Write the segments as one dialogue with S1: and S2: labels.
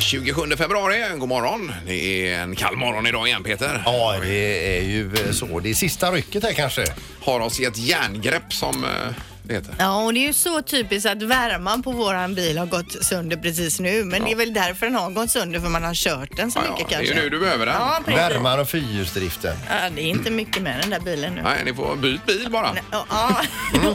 S1: 27 februari, god morgon. Det är en kall morgon idag igen Peter.
S2: Ja, det är ju eh, så. Det är sista rycket här kanske.
S1: Har oss i ett järngrepp som eh, det heter.
S3: Ja, och det är ju så typiskt att värman på våran bil har gått sönder precis nu. Men det är väl därför den har gått sönder, för man har kört den så
S1: Ja, ja,
S3: mycket
S1: det är
S3: kanske.
S1: ju nu du behöver den.
S3: Ja, precis.
S2: Värmar och fyrhjulsdriften.
S3: Ja, det är inte mycket med den där bilen nu.
S1: Nej, ni får byt bil bara.
S3: Ja, ja,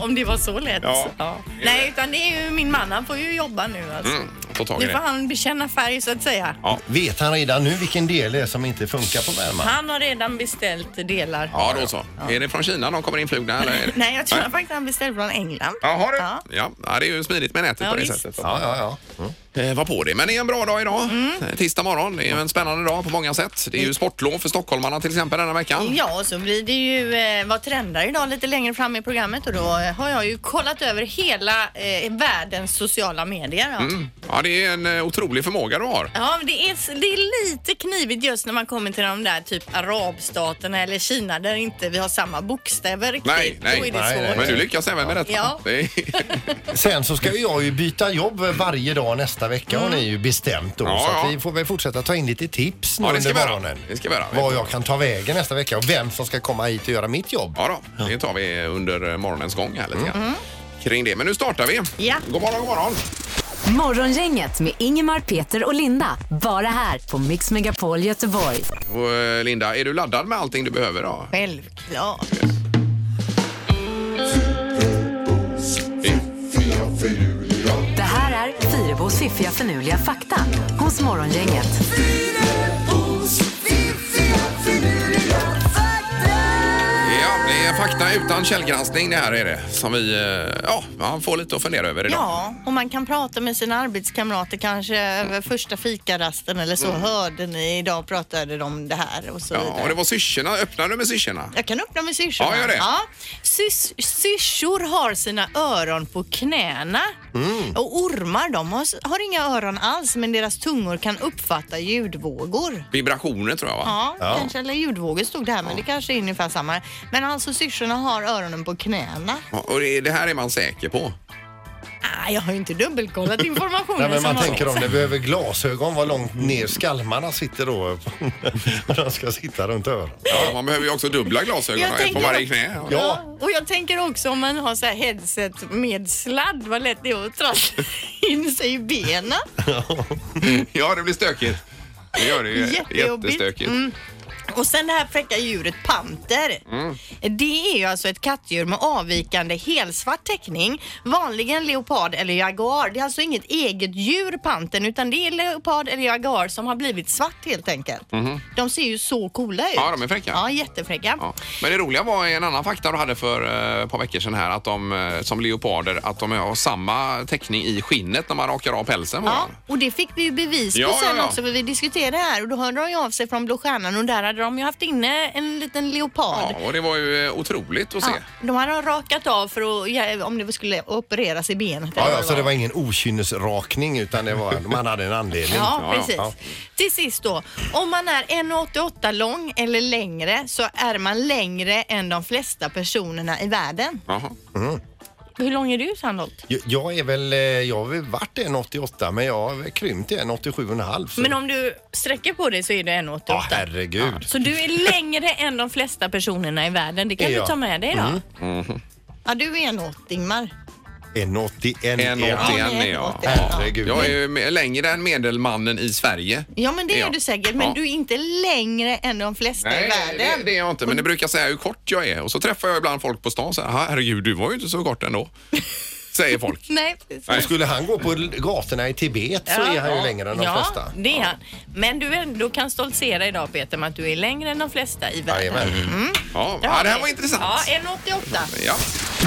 S3: om det var så lätt.
S1: Ja.
S3: Nej, utan det är ju min man, han får ju jobba nu alltså.
S1: Mm, ta tag i
S3: Nu får
S1: det.
S3: han bekänna färg så att säga.
S2: Vet han redan nu vilken del det är som inte funkar på värmar?
S3: Han har redan beställt delar.
S1: Ja, då så. Är det från Kina de kommer influgna eller? är det-
S3: Nej, jag tror han faktiskt han beställt från England.
S1: Jaha du.
S3: Ja.
S1: Ja, ja, det är ju smidigt med nätet
S3: Ja,
S1: på det
S3: visst.
S1: sättet.
S2: Ja, ja, ja. Mm.
S1: Eh, var på det. Men det är en bra dag idag.
S3: Mm.
S1: Eh, Tisdag morgon. Det är ju en spännande dag på många sätt. Det är ju sportlov för stockholmarna till exempel denna veckan.
S3: Ja, och så blir det ju eh, vad trendar idag lite längre fram i programmet och då eh, har jag ju kollat över hela eh, världens sociala medier. Ja.
S1: Ja, det är en eh, otrolig förmåga du har.
S3: Ja, men det är, s- det är lite knivigt just när man kommer till de där typ arabstaterna eller Kina där inte vi har samma bokstäver riktigt.
S1: Nej, nej.
S3: Då är det
S2: Nej,
S3: svårt.
S2: nej.
S1: Men du lyckas även med detta.
S3: Ja.
S1: Det är...
S2: Sen så ska ju jag ju byta jobb varje dag nästa vecka har ni ju bestämt då.
S1: Ja,
S2: så
S1: ja.
S2: att vi får väl fortsätta ta in lite tips nu
S1: Ja, det ska
S2: under
S1: vi göra.
S2: morgonen.
S1: Det ska vi göra.
S2: Vad jag kan ta vägen nästa vecka och vem som ska komma hit och göra mitt jobb.
S1: Ja då, det tar vi under eh, morgonens gång här
S2: Mm.
S1: lite grann. Kring det. Men nu startar vi.
S3: Ja.
S1: God morgon, god morgon.
S4: Morgongänget med Ingemar, Peter och Linda. Bara här på Mix Megapol Göteborg.
S1: Och, eh, Linda, är du laddad med allting du behöver då?
S3: Självklart.
S4: Det här är Fyrabos fiffiga förnuliga fakta hos Morgongänget.
S1: Ja, det är fakta utan källgranskning det här är det. Som vi, eh, ja, man får lite att fundera över idag.
S3: Ja, och man kan prata med sina arbetskamrater kanske över första fikarasten eller så. Hörde ni idag pratade de om det här och så
S1: Mm. Ja,
S3: vidare.
S1: och det var syrsorna. Öppnade du med syrsorna?
S3: Jag kan öppna med syrsorna.
S1: Ja, gör det.
S3: Sys- syrsor har sina öron på knäna.
S2: Mm.
S3: Och ormar de har, har inga öron alls men deras tungor kan uppfatta ljudvågor.
S1: Vibrationer tror jag va?
S3: Ja, kanske. Eller ljudvågor stod det här, men det kanske är ungefär samma. Men alltså syrsorna har öronen på knäna.
S1: Ja, Och det det här är man säker på.
S3: Ah, jag har ju inte dubbelkollat informationen.
S2: Nej, men
S3: som
S2: man
S3: var-
S2: tänker om det behöver glasögon, vad långt ner skalmarna sitter då. Och de ska sitta runt öronen.
S1: Ja, man behöver ju också dubbla glasögon
S3: Jag
S1: här, på
S3: tänker-
S1: varje knä. Ja.
S3: Ja, och jag tänker också om man har så här headset med sladd, vad lätt det är att trassla in sig i benen.
S1: ja, det blir stökigt. Det gör det ju.
S3: Jättejobbigt. Mm.
S1: Jättestökigt.
S3: Och sen det här fräcka djuret panter.
S1: Mm.
S3: Det är ju alltså ett kattdjur med avvikande helsvart täckning. Vanligen leopard eller jaguar. Det är alltså inget eget djur pantern utan det är leopard eller jaguar som har blivit svart helt enkelt. De ser ju så coola ut.
S1: Mhm. Ja, de är fräcka.
S3: Ja, jättefräcka.
S1: Ja. Men det roliga var en annan fakta du hade för eh, ett par veckor sedan här att de eh, som leoparder att de har samma täckning i skinnet när man rakar av pälsen.
S3: Ja,
S1: Ja.
S3: och det fick vi ju bevis på
S1: Ja,
S3: sen
S1: ja, ja.
S3: också för vi diskuterade det här och då hörde de ju av sig från Blå Stjärnan och där hade de ju haft inne en liten leopard.
S1: ja, och det var ju eh, otroligt att se.
S3: Ja, de hade rakat av för att, ja, om det skulle opereras i benet. eller
S2: Ja,
S3: vad
S2: ja, så det var ingen okynnesrakning utan det var, man hade en anledning.
S1: Ja,
S3: Ja,
S1: ja,
S3: precis.
S2: ja.
S3: Till sist då, om man är 1,88 lång eller längre så är man längre än de flesta personerna i världen.
S1: Jaha.
S3: Hur lång är du Sandholt?
S2: Jag- Jag är väl, eh, jag har väl varit en 88 men jag har väl krympt till en 87,5. så- Ah.
S3: Men om du sträcker på dig så är du 1,88.
S2: Ja, herregud.
S3: så du är längre än de flesta personerna i världen. Det kan
S2: Är
S3: du
S2: jag?
S3: ta med dig då. Mm. Ja, du är 1,80 Ingmar.
S2: En 81
S1: En
S2: är
S1: 81
S2: han.
S1: är jag.
S3: åttioen.
S1: Ja.
S2: Herregud.
S1: Jag är ju me- längre än medelmannen i Sverige.
S3: Ja, men det är
S1: Ja.
S3: du säkert. Men
S1: Ja.
S3: du är inte längre än de flesta i
S1: Nej,
S3: världen.
S1: det, det är jag inte. Men det brukar säga hur kort jag är. Och så träffar jag ibland folk på stan så här, "Ah, herregud, du var ju inte så kort ändå. Säger folk.
S3: Nej, precis.
S2: Och Skulle han gå på l- gatorna i Tibet så är han ju längre än de
S3: ja,
S2: flesta.
S3: det är han. Men du ändå kan stoltsera idag Peter med att du är längre än de flesta i världen.
S2: Jajamän.
S1: Ja,
S3: Där har
S1: ja det här
S3: vi.
S1: var intressant.
S3: Ja, 1,88.
S1: Ja.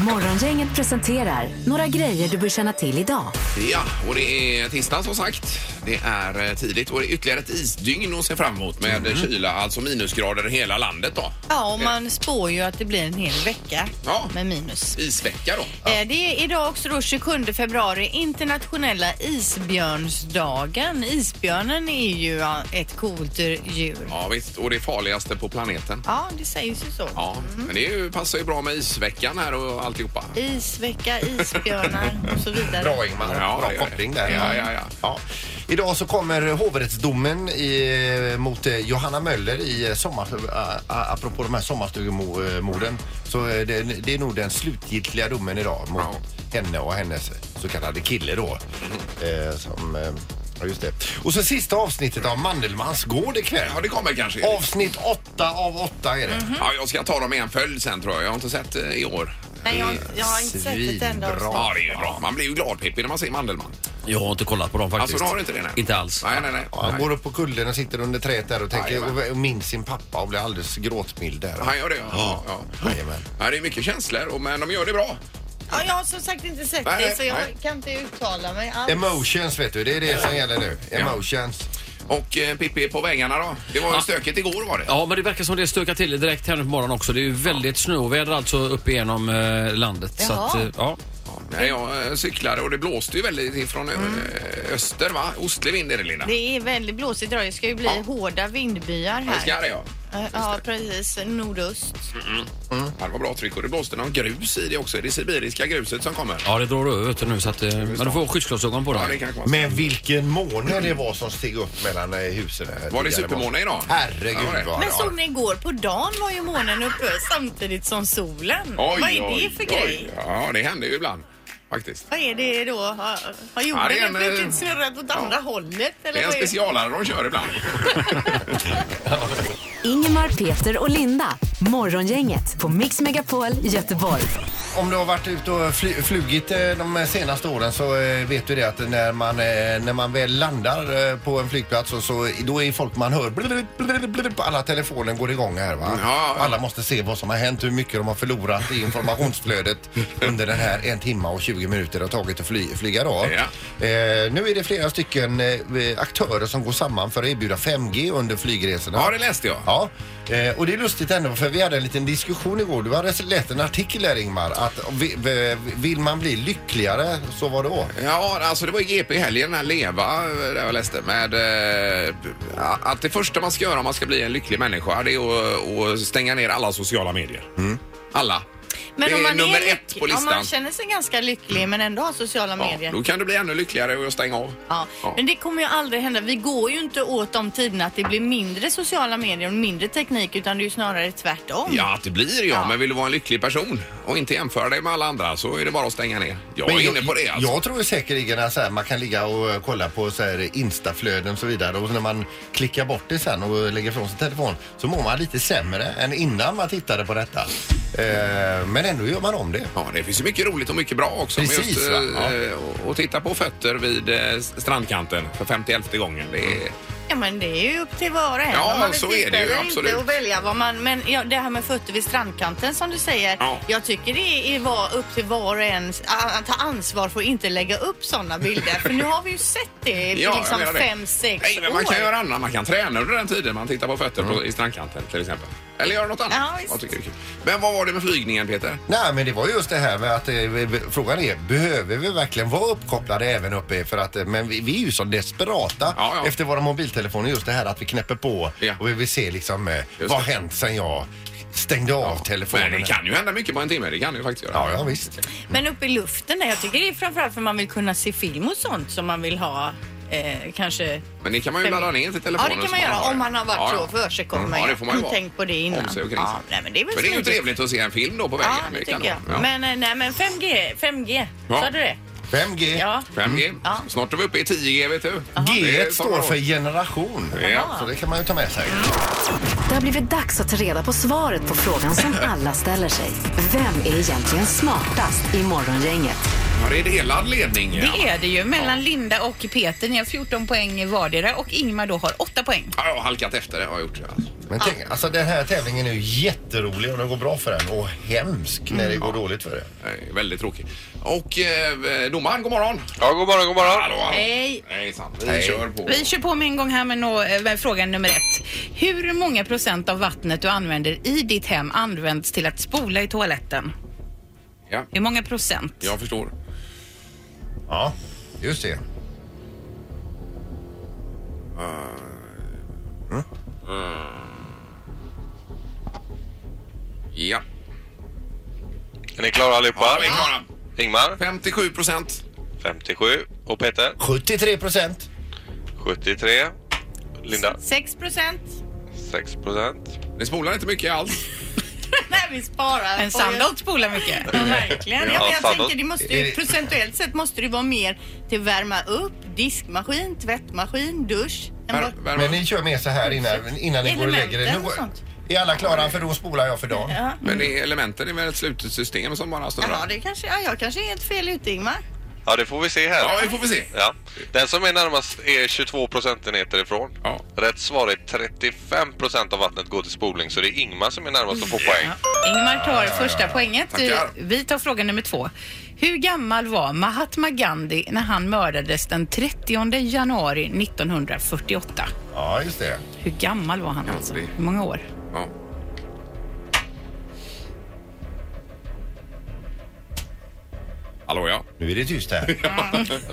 S4: Morgongänget presenterar några grejer du bör känna till idag.
S1: ja, och det är tisdag som sagt. Det är eh, tidigt och det är ytterligare ett isdygn att se fram emot med
S2: Mhm.
S1: eh, kyla, alltså minusgrader i hela landet då.
S3: Ja, och man spår ju att det blir en hel vecka
S1: Ja.
S3: med minus.
S1: Isvecka då.
S3: Eh, Det är idag också då 27 februari, internationella isbjörnsdagen. Isbjörnen är ju ja, ett coolt djur.
S1: Ja visst, och det farligaste på planeten.
S3: Ja, det sägs ju så.
S2: Mhm.
S1: Ja, men det är ju, passar ju bra med isveckan här och och alltihopa.
S3: Isvecka, isbjörnar och så vidare.
S2: Bra Ingmar, bra koppling där.
S1: Ja, ja, ja.
S2: Ja. Idag så kommer hovrättsdomen i, mot eh, Johanna Möller i eh, sommar, a- a- apropå de här sommarstugemorden. Så eh, det, det är nog den slutgiltiga domen idag mot henne och hennes så kallade kille då.
S1: Mm.
S2: Eh, som, eh, ja, just det. Och så sista avsnittet av Mandelmans gård ikväll.
S1: Ja, det Mhm. kommer kanske. Erik.
S2: Avsnitt åtta av åtta är det.
S1: Ja, jag ska ta dem i en följd sen tror jag. Jag har inte sett eh, i år.
S3: Nej, jag, jag har inte sett ett enda
S2: Svinbra.
S3: avsnitt.
S1: Ja, det är ju bra. Man blir ju glad Pippi när man ser Mandelmann.
S5: Jag har inte kollat på dem faktiskt.
S1: Alltså, du har inte det? Nej.
S5: Inte alls.
S1: Nej, nej, nej.
S2: Ja, han går upp på kullen och sitter under träet där och,
S1: Jajamän.
S2: tänker, och minns sin pappa och blir alldeles gråtmild där.
S1: Han gör det, ja. ja. ja.
S2: Jajamän.
S1: Ja, det är mycket känslor, och- men de gör det bra.
S3: Ja, jag har som sagt inte sett
S1: Nej,
S3: det så jag
S1: nej.
S3: kan inte uttala mig alls.
S2: Emotions vet du, det är det som gäller nu. Emotions.
S1: Och eh, Pippi på vägarna då? Det var ju stökigt igår var det.
S5: Ja, men det verkar som det stökar till direkt här nu på morgonen också. Det är ju väldigt snöoväder alltså upp igenom eh, landet. Så
S3: Jaha.
S5: att, eh, ja.
S1: Nej, jag eh, cyklade och det blöste ju väldigt ifrån ö-
S2: Mm.
S1: öster va? Ostlig vind är det Linda.
S3: Det är väldigt blåsigt idag. Det ska ju bli
S1: Ja.
S3: hårda vindbyar
S1: Det ska
S3: här.
S1: det ja.
S3: Ja, precis. Nordöst.
S1: Ja, Det var bra tryck och det blåste någon grus i det också. Är det sibiriska gruset som kommer?
S5: ja, det drar över vet du, nu så att, eh, men du får skyddsglasögon på
S1: Ja, det
S5: dig.
S1: kanske var så.
S2: Men vilken måne det var som steg upp mellan eh, husen. här
S1: Var det
S2: tidigare
S1: supermåne
S2: morse.
S1: idag? Ja, det var
S2: Herregud
S1: det.
S2: vad
S3: Men
S2: det
S3: såg ni igår på dagen var ju månen uppe samtidigt som solen.
S1: Oj,
S3: Vad är
S1: oj,
S3: det för
S1: oj.
S3: grej?
S1: Ja, det händer ju ibland faktiskt.
S3: Vad är det då? Har, har
S1: Ja, det
S3: jorden
S1: är
S3: helt
S1: en,
S3: plötsligt
S1: eh,
S3: snurrat åt andra hållet?
S1: Det
S3: Eller
S1: är en
S3: vad är
S1: specialare de kör ibland.
S4: Ingemar, Peter och Linda. Morgongänget på Mix Megapol Göteborg.
S2: Om du har varit ute och fly- flugit eh, de senaste åren så eh, vet du det att när man, eh, när man väl landar eh, på en flygplats och så, då är folk man hör blub, blub, blub, alla telefoner går igång här va.
S1: Ja.
S2: Alla måste se vad som har hänt, hur mycket de har förlorat i informationsflödet under den här en timma och 20 minuter det har tagit att fly, flyga då.
S1: Ja.
S2: Eh, nu är det flera stycken eh, aktörer som går samman för att erbjuda 5G under flygresorna.
S1: Ja, det läste jag.
S2: Ja, eh, och det är lustigt ändå för vi hade en liten diskussion igår. Du hade läst en artikel där Ingmar att vi- vi- vill man bli lyckligare så var det då.
S1: Ja, alltså det var i GP i helgen, den här LEVA, där jag läste, med eh, att det första man ska göra om man ska bli en lycklig människa det är att, att stänga ner alla sociala medier.
S2: Mm.
S1: Alla.
S3: Men
S1: det
S3: om
S1: är
S3: man
S1: nummer
S3: är
S1: ett
S3: lyck-
S1: på
S3: Om man
S1: listan.
S3: känner sig ganska lycklig men ändå har sociala
S1: ja,
S3: medier.
S1: då kan du bli ännu lyckligare och stänga av.
S3: Ja.
S1: Ja.
S3: Men det kommer ju aldrig hända. Vi går ju inte åt de tiderna att det blir mindre sociala medier och mindre teknik utan det är ju snarare tvärtom.
S1: Ja, att det blir ja,
S3: Ja.
S1: men vill du vara en lycklig person och inte jämföra dig med alla andra så är det bara att stänga ner. Jag är inne på det alltså.
S2: Jag tror säkerligen att så här, man kan ligga och eh, kolla på så här, instaflöden och så vidare och när man klickar bort det sen och lägger ifrån sin telefon så mår man lite sämre än innan man tittade på detta. Eh, men ändå gör man om det.
S1: Ja, det finns ju mycket roligt och mycket bra också. men
S2: Precis,
S1: just,
S2: va?
S1: eh, och- Och titta på fötter vid eh, strandkanten för 51 gången. Det är,
S3: Ja, men det är ju upp till var och en.
S1: Ja,
S3: om man vill
S1: så
S3: titta
S1: är det ju,
S3: eller inte
S1: absolut.
S3: Och välja vad man, men ja, det här med fötter vid strandkanten som du säger.
S1: Ja.
S3: Jag tycker det är var, upp till var och en a- att ta ansvar för att inte lägga upp sådana bilder. för nu har vi ju sett det i
S1: jag
S3: liksom
S1: menar det.
S3: fem, sex
S1: Nej, men
S3: år. Mm.
S1: man kan göra annat. Man kan träna under den tiden man tittar på fötter på, i strandkanten till exempel. Eller göra något annat.
S3: Ja, visst.
S1: jag tycker det är kul. Men vad var det med flygningen Peter?
S2: Nej, men det var just det här med att eh, vi- vi- frågan är, behöver vi verkligen vara uppkopplade även uppe? i- För att, eh, men vi, vi är ju så desperata
S1: Ja, ja.
S2: efter våra mobiltelefoner. Just det här att vi knäpper på
S1: Ja.
S2: och vi vill se liksom, eh,
S1: Just
S2: vad har
S1: det.
S2: hänt sen jag stängde av telefonen.
S1: Men det kan ju hända mycket på en timme. Det kan det ju faktiskt göra.
S2: Ja, ja visst.
S3: Men uppe i luften där, jag tycker det är framförallt för man vill kunna se film och sånt som man vill ha eh, kanske.
S1: Men det kan man ju ladda ner till
S3: Ja
S1: telefonen.
S3: det kan
S1: som
S3: man göra
S1: har.
S3: om man har varit
S1: Ja,
S3: så
S1: ja.
S3: försigkommen.
S1: Mm, Ja, det får man ju vara.
S3: Tänk på det innan.
S1: Om sig och kring sig.
S3: ja, nej, men det är väl
S1: Men det är ju
S3: smidigt.
S1: trevligt att se en film då på vägen.
S3: Ja, det
S1: kan
S3: tycker jag.
S1: vara. Ja.
S3: Men, eh, nej, men 5G, 5G.
S1: Ja.
S3: Sa du det?
S2: 5G.
S3: Ja.
S1: 5G.
S3: Mm, Ja.
S1: Snart är vi uppe i 10G, vet du. Det är
S2: G1
S1: sommar-
S2: E står för generation.
S1: Ja.
S2: Så det kan man ju ta med sig.
S4: Det har blivit dags att ta reda på svaret på frågan som alla ställer sig. Vem är egentligen smartast i morgongänget?
S1: Ja, det är delad ledning. ja.
S6: Det är det ju. Mellan Linda och Peter. Ni har 14 poäng vardera och Ingmar då har 8 poäng.
S1: Ja, jag har halkat efter det har jag gjort. Alltså.
S2: Men tänk, alltså den här tävlingen är ju jätterolig om det går bra för den och hemsk när
S1: Mm.
S2: det går dåligt för den.
S1: Nej, väldigt tråkigt. Och eh, domaren, god morgon.
S7: Ja, god morgon, god morgon.
S1: Hallå, hallå.
S6: Hej.
S1: Hejsan. Vi kör på.
S6: Vi kör på med en gång här med, nå, eh, med frågan nummer ett. Hur många procent av vattnet du använder i ditt hem används till att spola i toaletten?
S1: Ja,
S6: Hur många procent?
S1: jag förstår.
S2: Ja, just det.
S1: Ja.
S7: Är ni klara allihopa?
S1: Ja, vi är klara.
S7: Ingmar,
S1: 57 procent.
S7: 57. Och Peter,
S2: 73 procent.
S7: 73. Linda,
S6: 6 procent.
S7: 6 procent.
S1: Ni spolar inte mycket alls.
S3: Nej, vi sparar.
S6: Men Sandholt spolar mycket.
S3: Ja, verkligen.
S7: Ja,
S3: Ja, men jag
S7: Sandholt.
S3: tänker, det måste
S2: Är det-
S3: ju, procentuellt sett måste det vara mer till värma upp, diskmaskin, tvättmaskin, dusch. än
S1: Vär-
S3: vad-
S1: värma
S2: Men ni kör med så här innan, innan ni går och lägger er. Nu
S3: Elementen och
S2: går-
S3: sånt.
S2: Är alla klara? För då spolar jag för dagen.
S1: Men det är elementen är väl ett slutet system som bara snurrar?
S3: Jaha, det kanske, ja, jag kanske är helt fel ute Ingmar.
S7: Ja, det får vi se här.
S1: Ja, vi får vi se.
S7: Ja. Den som är närmast är 22 procentenheter ifrån.
S1: Ja.
S7: Rätt svar är 35 procent av vattnet går till spoling, så det är Ingmar som är närmast att få
S1: Mm.
S7: poäng.
S6: Ingmar tar första poänget. Eh,
S1: Tackar.
S6: Vi tar fråga nummer två. Hur gammal var Mahatma Gandhi när han mördades den 30 januari 1948?
S2: Ja, just det.
S6: Hur gammal var han alltså?
S1: Gandhi.
S6: Hur många år?
S1: Ja. Hallå ja.
S2: Nu är det tyst här.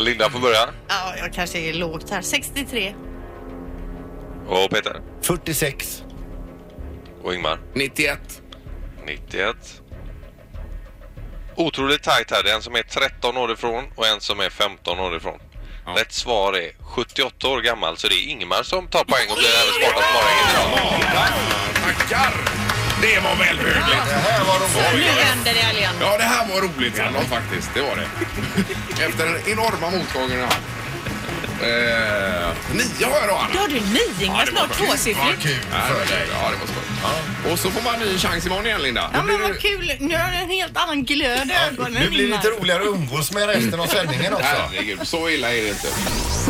S7: Linda får börja.
S3: Ja, jag kanske är lågt här. 63.
S7: Och Peter.
S2: 46.
S7: Och Ingmar.
S1: 91.
S7: 91. Otroligt tajt här. Det är en som är 13 år ifrån och en som är 15 år ifrån.
S1: Ja.
S7: Rätt svar är 78 år gammal, så det är Ingmar som tar poäng och blir även smartast morgon idag.
S1: Tackar! Det var
S2: Det
S1: välbehövligt.
S2: här var de
S1: Oj, oj.
S3: vänder det igen.
S1: Ja, det här var roligt Sandholt faktiskt. Det var det. Efter den enorma motgången jag haft. Eh, nio har jag då Anna.
S6: Då har du nio Ingmar, snart tvåsiffrigt.
S1: Vad kul för dig. Ja, det var skoj. Och så får man en ny chans imorgon igen Linda.
S3: Ja, men vad kul. Nu har du en helt annan glöd i ögonen
S2: Nu blir det
S3: Ingmar.
S2: lite roligare att umgås med resten av sändningen också.
S1: Alltså. Herregud, så illa är det inte.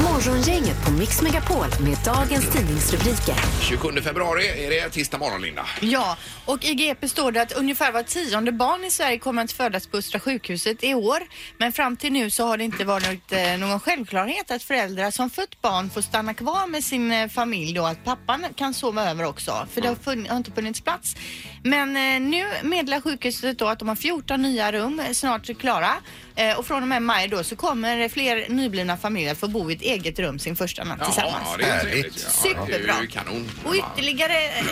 S4: Morgongänget på Mix Megapol med dagens tidningsrubriker.
S1: 27 februari är det tisdag morgon Linda.
S3: Ja, och i GP står det att ungefär var tionde barn i Sverige kommer att födas på Östra sjukhuset i år. Men fram till nu så har det inte varit eh, någon självklarhet att föräldrar som fött barn får stanna kvar med sin eh, familj och att pappan kan sova över också. För det har, funn- har inte funnits plats. Men eh, nu meddelar sjukhuset då att de har 14 nya rum eh, snart klara. Eh, och från och med maj då så kommer eh, fler nyblivna familjer få bo i ett eget rum sin första natt tillsammans.
S1: ja, det är ju
S2: Härligt.
S1: trevligt. Ja, Det är ju
S3: Superbra.
S1: kanon.
S3: Och ytterligare, eh, ja,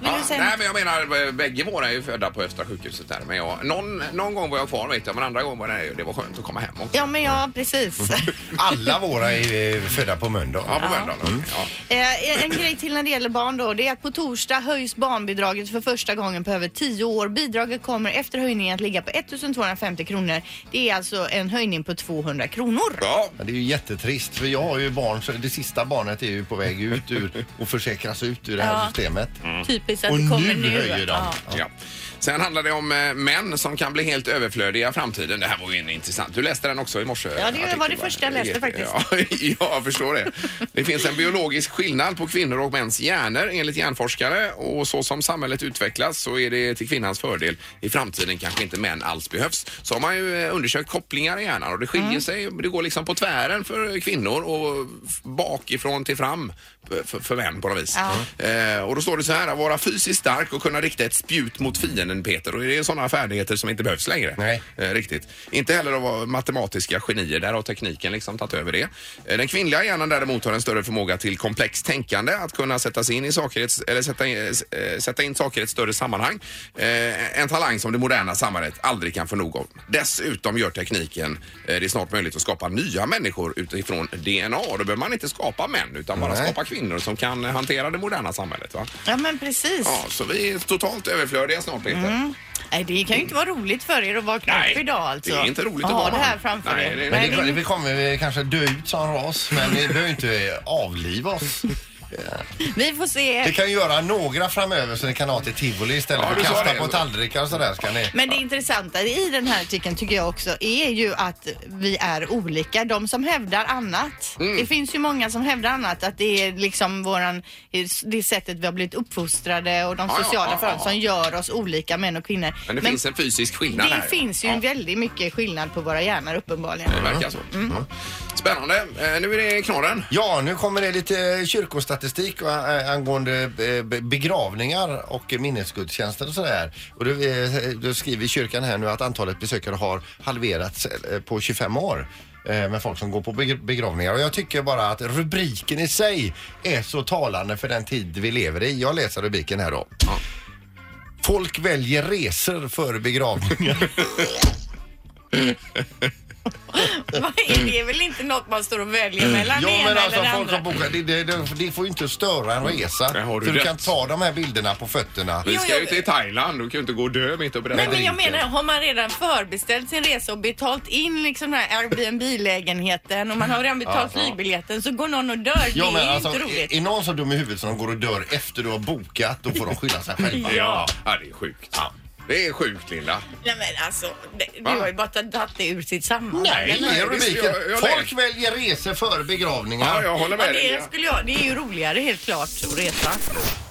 S3: vill
S1: Ja,
S3: du säga
S1: nej, men jag menar, eh, bägge våra är ju födda på Östra sjukhuset där. Men jag, någon, någon gång var jag kvar vet jag, men andra gången var det, det var skönt att komma hem också.
S3: Ja, men ja, precis.
S2: Alla våra är eh, födda på
S1: Ja,
S2: måndag.
S1: på Mölndal. Ja.
S3: Eh, en grej till när det gäller barn då, det är att på torsdag höjs barnbidraget för första gången på över 10 år. Bidraget kommer efter höjningen att ligga på 1250 kronor. Det är alltså en höjning på 200 kronor.
S1: ja,
S2: Ja, Det är ju jättetrist för jag har ju barn, så det sista barnet är ju på väg ut ur och försäkras ut ur det här
S3: Ja.
S2: systemet.
S3: Typiskt att
S2: Och
S3: det kommer
S2: nu
S3: nu.
S2: höjer de.
S3: Ja.
S1: ja. Sen handlar det om eh, män som kan bli helt överflödiga i framtiden. Det här var ju en intressant. Du läste den också i morse.
S3: det var
S1: artikeln,
S3: det
S1: va?
S3: första jag läste faktiskt.
S1: Ja, jag förstår det. Det finns en biologisk skillnad på kvinnor och mäns hjärnor enligt hjärnforskare och så som samhället utvecklas så är det till kvinnans fördel. I framtiden kanske inte män alls behövs. Så har man ju eh, undersökt kopplingar i hjärnan och det skiljer sig. Det går liksom på tvären för kvinnor och f- bakifrån till fram för, för män på något vis. Eh, och då står det så här, att vara fysiskt stark och kunna rikta ett spjut mot fienden Peter. Och det är sådana färdigheter som inte behövs längre.
S2: Nej.
S1: Eh, riktigt. Inte heller att vara matematiska genier, där har tekniken liksom tagit över det. Eh, den kvinnliga hjärnan däremot har en större förmåga till komplext tänkande, att kunna sätta, sig in, i saker, i ett- eller sätta, in, eh, sätta in saker i ett större sammanhang. Eh, en talang som det moderna samhället aldrig kan få nog av. Dessutom gör tekniken eh, det är snart möjligt att skapa nya människor utifrån DNA. Då behöver man inte skapa män utan bara
S2: Nej.
S1: skapa kvinnor som kan hantera det moderna samhället. Va?
S3: ja, men precis.
S1: Ja, så vi är totalt överflödiga snart Peter.
S3: Mm. Nej, det kan ju inte vara roligt för er att vakna
S1: Nej,
S3: upp idag alltså.
S1: det är inte
S3: att
S1: roligt att
S3: ha
S1: vara
S3: det här
S1: barn.
S3: framför
S1: Nej,
S3: er.
S1: det är-
S2: Men det är klart, vi kommer väl kanske dö ut som ras, men vi behöver inte eh, avliva oss.
S3: Vi får
S2: Vi
S3: se.
S2: kan göra några framöver som ni kan ha till tivoli istället
S1: Ja,
S2: för
S1: du
S2: att
S1: sa
S2: kasta
S1: det.
S2: på tallrikar och sådär ska ni.
S3: Men det intressanta i den här artikeln tycker jag också är ju att vi är olika. De som hävdar annat.
S1: Mm.
S3: Det finns ju många som hävdar annat. Att det är liksom våran, det sättet vi har blivit uppfostrade och de
S1: Ja, ja,
S3: sociala
S1: ja, ja,
S3: förhållanden
S1: ja.
S3: som gör oss olika män och kvinnor.
S1: Men det finns en fysisk skillnad
S3: det
S1: här.
S3: finns ju
S1: Ja. Mm.
S3: en väldigt mycket skillnad på våra hjärnor uppenbarligen.
S1: Det verkar så. Ja. Spännande. Eh, Nu är det knorren.
S2: Ja, nu kommer det lite eh, kyrkostatistik och, eh, angående eh, be- begravningar och minnesgudstjänster och sådär. Och då, eh, då skriver kyrkan här nu att antalet besökare har halverats eh, på 25 år eh, med folk som går på beg- begravningar. Och jag tycker bara att rubriken i sig är så talande för den tid vi lever i. Jag läser rubriken här då. Folk väljer resor för begravningar.
S3: Vad är det? det är väl inte något man står och väljer
S1: Mm.
S3: mellan
S2: jo
S3: det ena
S2: men alltså
S3: eller det
S2: folk som
S3: andra?
S2: bokar, det, det, det, det får ju inte störa en resa.
S1: Nej, har du
S2: så du
S1: rätt.
S2: kan ta de här bilderna på fötterna.
S1: Vi
S3: Jo,
S1: ska
S3: jag-
S1: ju till Thailand, du kan ju inte gå och dö mitt uppe i det
S3: Nej,
S1: här
S3: men jag
S1: riket.
S3: menar, har man redan förbeställt sin resa och betalt in liksom den här Airbnb-lägenheten och man har redan betalt flygbiljetten så går någon och dör.
S2: Ja,
S3: det är
S2: men
S3: ju
S2: alltså,
S3: inte roligt.
S2: är, är någon så dum i huvudet som de går och dör efter du har bokat, då får de skylla sig själva.
S1: Ja, ja det är sjukt. Det är sjukt, Linda.
S3: Nej men alltså, det,
S1: Va?
S3: du har ju bara tagit det ur sitt sammanhang.
S2: Nej,
S1: nej,
S2: nej, rubriken.
S1: visst, jag- jag
S2: Folk väljer resor för begravningar.
S1: Ja, jag håller
S3: Ja,
S1: med dig.
S3: det,
S1: Linda.
S3: skulle jag, det är ju roligare helt klart att resa.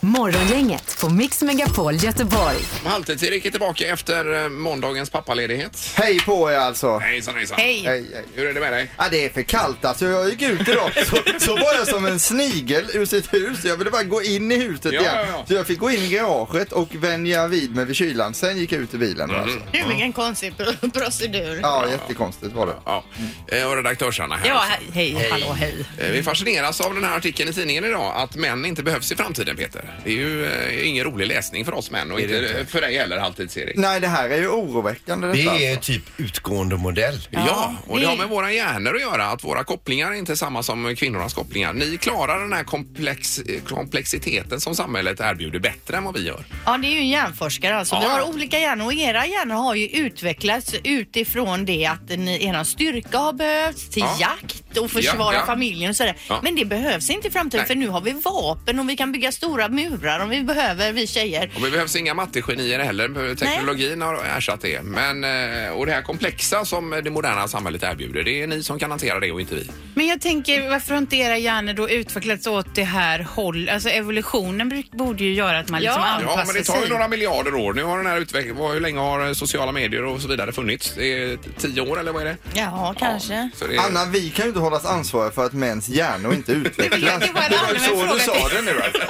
S4: Morgongänget på Mix Megapol Göteborg.
S1: Halvtids-Erik är tillbaka efter eh, måndagens pappaledighet.
S8: Hej på er alltså!
S1: Hejsan, hejsan.
S6: Hej!
S8: Hej, hej.
S1: Hur är det med dig?
S8: Ja, det är för kallt alltså. Jag gick ut idag så, så var jag som en snigel ur sitt hus. Jag ville bara gå in i huset
S1: Ja,
S8: igen.
S1: ja, ja.
S8: Så jag fick gå in i garaget och vänja vid mig vid kylan. Sen gick jag ut i bilen. Alltså.
S3: Det är en konstig pro- procedur.
S8: Ja, jättekonstigt var det.
S1: Ja. Eh, Och redaktörs-Anna här.
S6: Ja, he- hej, hallå, hej.
S1: Eh, Vi fascineras av den här artikeln i tidningen idag att män inte behövs i framtiden, Peter. Det är ju eh, ingen rolig läsning för oss män och inte, eh, för dig heller, Halvtids-Erik.
S8: Nej, det här är ju oroväckande detta.
S2: Det är
S8: alltså.
S2: typ utgående modell.
S1: Ja, och det
S6: det-
S1: har med våra hjärnor att göra. Att våra kopplingar är inte samma som kvinnornas kopplingar. Ni klarar den här komplex, eh, komplexiteten som samhället erbjuder bättre än vad vi gör.
S3: Ja, det är ju en hjärnforskare alltså. Vi
S1: Ja.
S3: har olika hjärnor och era hjärnor har ju utvecklats utifrån det att ni, er styrka har behövts till
S1: Ja.
S3: jakt och försvara
S1: Ja, ja.
S3: familjen och sådär.
S1: Ja.
S3: Men det behövs inte i framtiden
S1: Nej.
S3: för nu har vi vapen och vi kan bygga stora murar om vi behöver, vi tjejer.
S1: Och vi behövs inga mattegenier heller. Teknologin har ersatt det. Men, eh, och det här komplexa som det moderna samhället erbjuder, det är ni som kan hantera det och inte vi.
S6: Men jag tänker, varför har inte era hjärnor då utvecklats åt det här håll? Alltså evolutionen bruk- borde ju göra att man liksom
S3: Ja.
S1: Ja,
S6: anpassar
S1: men det tar ju
S6: sig.
S1: några miljarder år. Nu har den här utvecklingen, vad- hur länge har eh, sociala medier och så vidare funnits? Det är t- tio år eller vad är det?
S3: Ja, kanske.
S1: Så det är...
S8: Anna, vi kan ju inte hållas ansvariga för att mäns hjärnor inte utvecklas.
S6: det var en allmän
S8: så
S6: fråga
S8: du sa
S6: till-
S8: det nu alltså.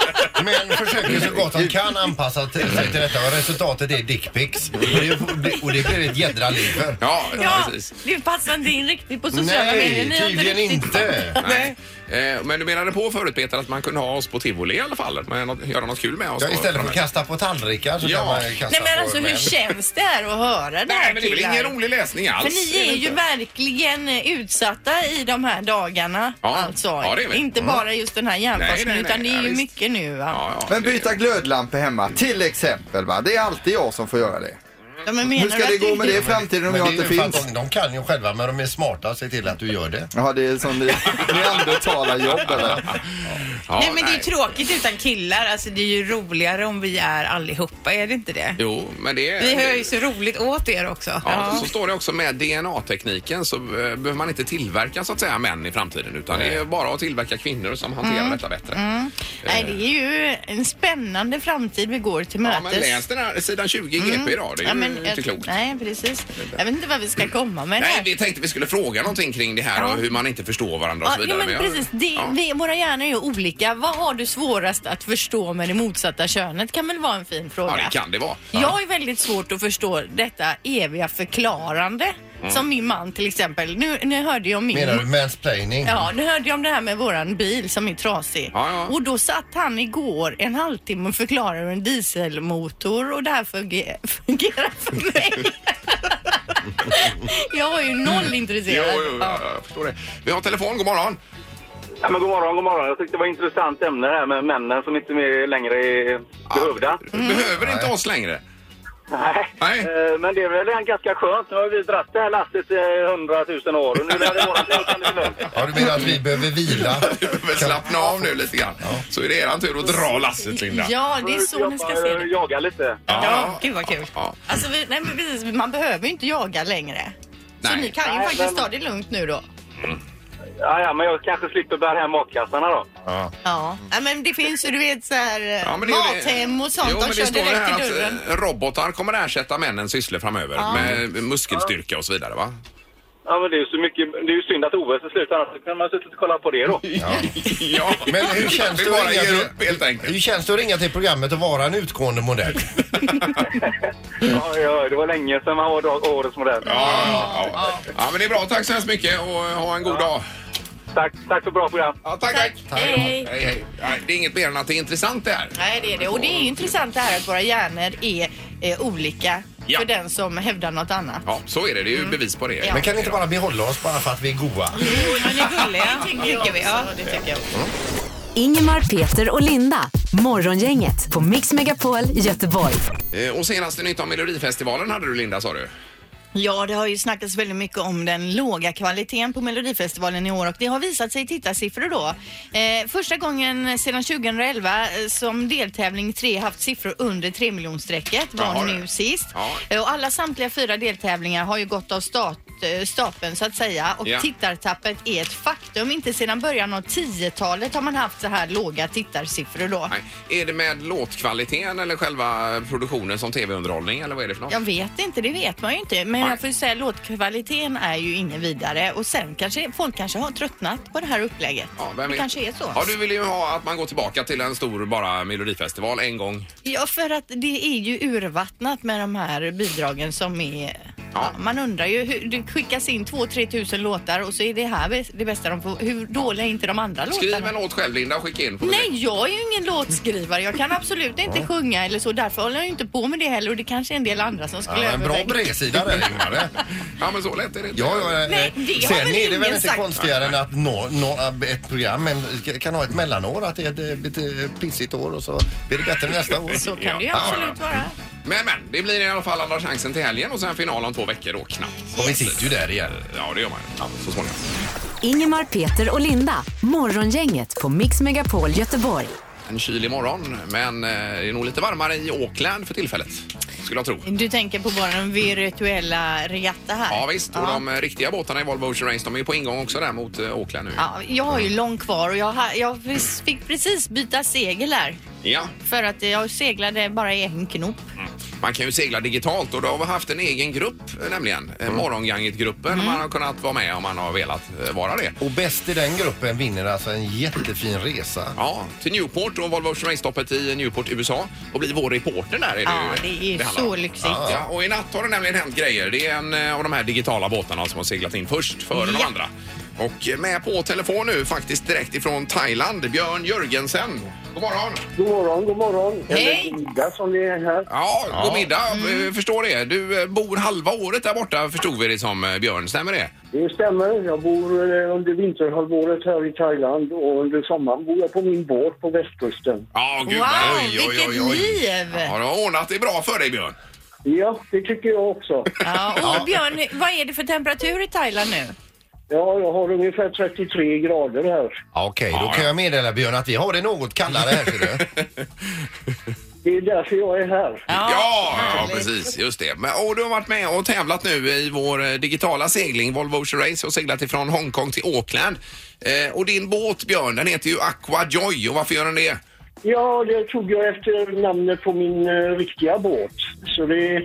S2: Men försöker så gott de kan anpassa till- sig till detta och resultatet är dickpics. Och det, och det blir ett jädra liv för.
S1: Ja, ja,
S3: Ja,
S1: precis.
S3: du passar inte in riktigt på sociala medier.
S2: Nej,
S3: Ni har
S2: tydligen
S3: riktigt-
S2: inte.
S1: Nej. Eh, Men du menade på förut Peter att man kunde ha oss på tivoli i alla fall? Man något, göra något kul med oss?
S2: Ja,
S1: då
S2: istället för att
S1: framöver.
S2: kasta på tallrikar så
S1: Ja.
S2: kan man ju kasta
S3: Nej men
S2: på
S3: alltså hur
S2: män.
S3: känns det här att höra det
S1: Nej,
S3: här
S1: men det är väl
S3: killar?
S1: ingen rolig läsning alls?
S3: För ni är ju verkligen eh, utsatta i de här dagarna.
S1: Ja,
S3: alltså.
S1: ja, det är vi.
S3: Inte
S1: Mm.
S3: bara just den här
S1: Nej, nej,
S3: hjärnforskningen
S1: nej,
S3: utan det är
S1: ja,
S3: ju
S1: visst.
S3: mycket nu. Va?
S1: Ja, ja,
S8: Men
S1: det-
S8: byta glödlampor hemma, till exempel. Va? Det är alltid jag som får göra det.
S3: Ja, men menar
S8: Hur ska
S3: du
S8: det
S3: att
S8: gå med det i framtiden
S2: Men
S8: om
S2: det är
S8: jag
S2: ju
S8: inte
S2: för att
S8: finns?
S2: de, de kan ju själva men de är smarta och ser till att du gör det.
S8: Ja, det är som neandertalarjobb eller?
S1: ja,
S6: nej men det är ju tråkigt utan killar. Alltså det är ju roligare om vi är allihopa, är det inte det?
S1: Jo, men det är...
S6: Vi har ju så roligt åt er också.
S1: Ja, Så står det också med DNA-tekniken så eh, behöver man inte tillverka så att säga män i framtiden utan det är bara att tillverka kvinnor som hanterar
S3: Mm.
S1: detta bättre.
S3: Nej, det är ju en spännande framtid vi går till
S1: Eh. Ja,
S3: mötes.
S1: men läs den här sidan 20 i GP idag. Det är
S3: Mm. Ja,
S1: ju
S3: men,
S1: inte
S3: eh,
S1: klokt. Nej.
S3: Nej, precis. Jag vet inte vad vi ska komma med det här.
S1: vi tänkte vi skulle fråga någonting kring det här och hur man inte förstår varandra och
S3: Ja,
S1: så
S3: ja,
S1: vidare.
S3: men
S1: jag-
S3: precis. Det,
S1: ja.
S3: vi, våra hjärnor är ju olika. Vad har du svårast att förstå med det motsatta könet? Kan väl vara en fin fråga.
S1: ja, det kan det vara.
S3: Jag har ju väldigt svårt att förstå detta eviga förklarande.
S1: Mm.
S3: Som min man till exempel. Nu, nu hörde jag om min...
S2: Menar du mansplaining?
S3: Ja, nu hörde jag om det här med våran bil som är trasig.
S1: Ja, ja.
S3: Och då satt han igår en halvtimme och förklarade hur en dieselmotor och det här funge- fungerar för mig. jag var ju noll
S1: Jo,
S3: intresserad.
S1: jo, jo, ja, jag förstår det. Vi har telefon, god morgon.
S9: Ja, men god morgon, god morgon. Jag tyckte det var ett intressant ämne här med männen som inte mer längre är behövda.
S3: Mm.
S1: Behöver inte oss längre.
S9: Nej.
S1: Nej.
S9: Eh, Men det är väl ganska skönt. Nu har vi dratt det här lastet i hundratusen år och nu är det våran tur kan det bli lugnt.
S2: Ja, du menar att vi behöver vila?
S1: Vi behöver slappna av nu lite grann. Så är det eran tur att dra lasset, Linda.
S3: Ja, det är så ni ska se det.
S9: Jaga lite.
S6: Ja, gud vad kul.
S1: ja.
S3: Alltså, vi, nej, men precis, man behöver ju inte jaga längre. Så
S1: Nej.
S3: ni kan ju
S9: Nej,
S3: faktiskt
S9: men-
S3: ta det lugnt nu då.
S9: Ja, ja, men jag kanske slipper bära hem matkassarna då.
S3: Ja. ja, men det finns ju du vet så här
S1: Ja,
S3: ja,
S1: men det är ju det-
S3: mathem och sånt.
S1: Jo, men
S3: de
S1: det
S3: kör
S1: står det
S3: direkt
S1: här
S3: i dörren.
S1: att eh, robotar kommer ersätta männens sysslor framöver med muskelstyrka och så vidare, va?
S9: Ja, men det är ju så mycket. Det är ju synd att OS är slut, annars kunde man ha suttit och kollat på det då.
S1: Ja,
S2: Men hur känns
S1: vi
S2: det att
S1: bara
S2: ringa
S1: ger
S2: till-
S1: upp helt enkelt.
S2: Hur känns det att ringa till programmet och vara en utgående modell?
S9: Ja, ja, det var länge sedan man var dag- årets modell.
S1: Ja, ja, ja. ja, men det är bra. Tack så hemskt mycket och ha en eh, god dag.
S9: Tack, tack för bra program.
S1: Ja, tack, tack.
S3: Hej.
S1: Hej, hej. Nej, Det är inget mer än att det är intressant det här.
S3: Nej, det är det. Och det är ju intressant det här att våra hjärnor är eh, olika
S1: Ja.
S3: för den som hävdar något annat.
S1: Ja, så är det. Det är ju bevis på det.
S3: Mm. Ja.
S2: Men kan vi inte bara behålla oss bara för att vi är goa?
S6: Men är gulliga, tycker vi. Ja.
S3: det tycker jag.
S4: Ingemar, Peter och Linda. Morgongänget på Mix Megapol Göteborg.
S1: Eh, Och senaste nytt om Melodifestivalen hade du Linda, sa du?
S3: Ja, det har ju snackats väldigt mycket om den låga kvaliteten på Melodifestivalen i år och det har visat sig i tittarsiffror då. Eh, första gången sedan 2011 eh, som deltävling 3 haft siffror under 3 miljonstrecket var
S1: Jaha,
S3: nu
S1: det.
S3: sist.
S1: Ja.
S3: Eh, och alla samtliga fyra deltävlingar har ju gått av stat, eh, stapeln så att säga och
S1: Ja.
S3: tittartappet är ett faktum. Inte sedan början av 10-talet har man haft så här låga tittarsiffror då.
S1: Nej. Är det med låtkvaliteten eller själva produktionen som tv-underhållning eller vad är det för något?
S3: Jag vet inte, det vet man ju inte. Men
S1: Nej.
S3: jag får ju säga låtkvaliteten är ju ingen vidare och sen kanske folk kanske har tröttnat på det här upplägget.
S1: Ja, vem
S3: det
S1: vet?
S3: kanske är så.
S1: Ja, du vill ju ha att man går tillbaka till en stor bara melodifestival en gång.
S3: Ja, för att det är ju urvattnat med de här bidragen som är
S1: Ja.
S3: Ja, man undrar ju, hur, det skickas in 2-3 tusen låtar och så är det här bäst- det bästa de får. Hur dåliga är inte de andra
S1: Skriv
S3: låtarna?
S1: en låt själv Linda och skicka in. Får vi se.
S3: Nej, jag är ju ingen låtskrivare. Jag kan absolut inte sjunga eller så. Därför håller jag ju inte på med det heller och det kanske är en del andra som skulle
S2: Ja, en bra
S3: överväga.
S2: bredsida där Ingmar.
S1: Ja, men så lätt är det inte.
S2: Ja, ja, ja.
S3: Nej, det har väl
S2: Sen är det väl
S3: ingen
S2: inte
S3: sagt.
S2: konstigare än att nå, nå, ett program men kan ha ett mellanår, att det är ett, eh, lite pissigt år och så blir det bättre nästa år.
S3: Så kan det ju
S1: Ja, ja,
S3: absolut vara.
S1: Men, men, det blir i alla fall Andra chansen till helgen och sen final om två veckor då, knappt.
S2: Och vi sitter ju där igen.
S1: Ja, det gör man. Ja, så småningom.
S4: Ingemar, Peter och Linda. Morgongänget på Mix Megapol Göteborg.
S1: En kylig morgon, men eh, det är nog lite varmare i Auckland för tillfället, skulle jag tro.
S3: Du tänker på bara den virtuella regatta här?
S1: Ja visst, och de eh, riktiga båtarna i Volvo Ocean Race, de är ju på ingång också där mot eh, Auckland nu. Ja.
S3: Ja, jag har ju lång kvar och jag, ha, jag precis- fick precis byta segel här. För att jag seglade bara i en knop.
S1: Man kan ju segla digitalt och då har vi haft en egen grupp eh, nämligen. Mm. Morgonganget-gruppen.
S3: Mm.
S1: Man har kunnat vara med om man har velat eh, vara det.
S2: Och bäst i den gruppen vinner alltså en jättefin resa.
S1: Ja, till Newport och Volvo Ocean Race-stoppet i Newport, USA och bli vår reporter där. Är det,
S3: Ja,
S1: ju-
S3: det är
S1: handlar
S3: så
S1: om.
S3: lyxigt.
S1: Ja, och i natt har det nämligen hänt grejer. Det är en eh, av de här digitala båtarna som har seglat in först före de
S3: Ja.
S1: andra. Och eh, med på telefon nu faktiskt direkt ifrån Thailand, Björn Jörgensen. God morgon!
S9: God morgon, god morgon.
S3: Hej.
S9: Eller Ida som ni är här.
S1: Ja, god middag. Eh, Förstår det. Du eh, bor halva året där borta förstod vi det som eh, Björn, stämmer det?
S9: Det stämmer. Jag bor eh, under vinterhalvåret här i Thailand och under sommaren bor jag på min båt på västkusten.
S1: Ja, gud.
S3: wow,
S1: vad-
S3: vilket liv!
S1: Ja, du har ordnat det bra för dig Björn.
S9: Ja, det tycker jag också.
S3: Ja, och Björn, vad är det för temperatur i Thailand nu?
S9: Ja, jag har ungefär 33 grader här.
S2: Ja, Okej,
S1: Ja,
S2: då kan
S1: ja.
S2: jag meddela Björn att vi har det något kallare här. ser du.
S9: Det är därför jag är här.
S1: Ja, ja precis. Just det. Men, och du har varit med och tävlat nu i vår eh, digitala segling, Volvo Ocean Race, och seglat ifrån Hongkong till Auckland. Eh, och din båt Björn, den heter ju Aqua Joy. Och varför gör den det?
S9: Ja, det tog jag efter namnet på min eh, riktiga båt. Så det,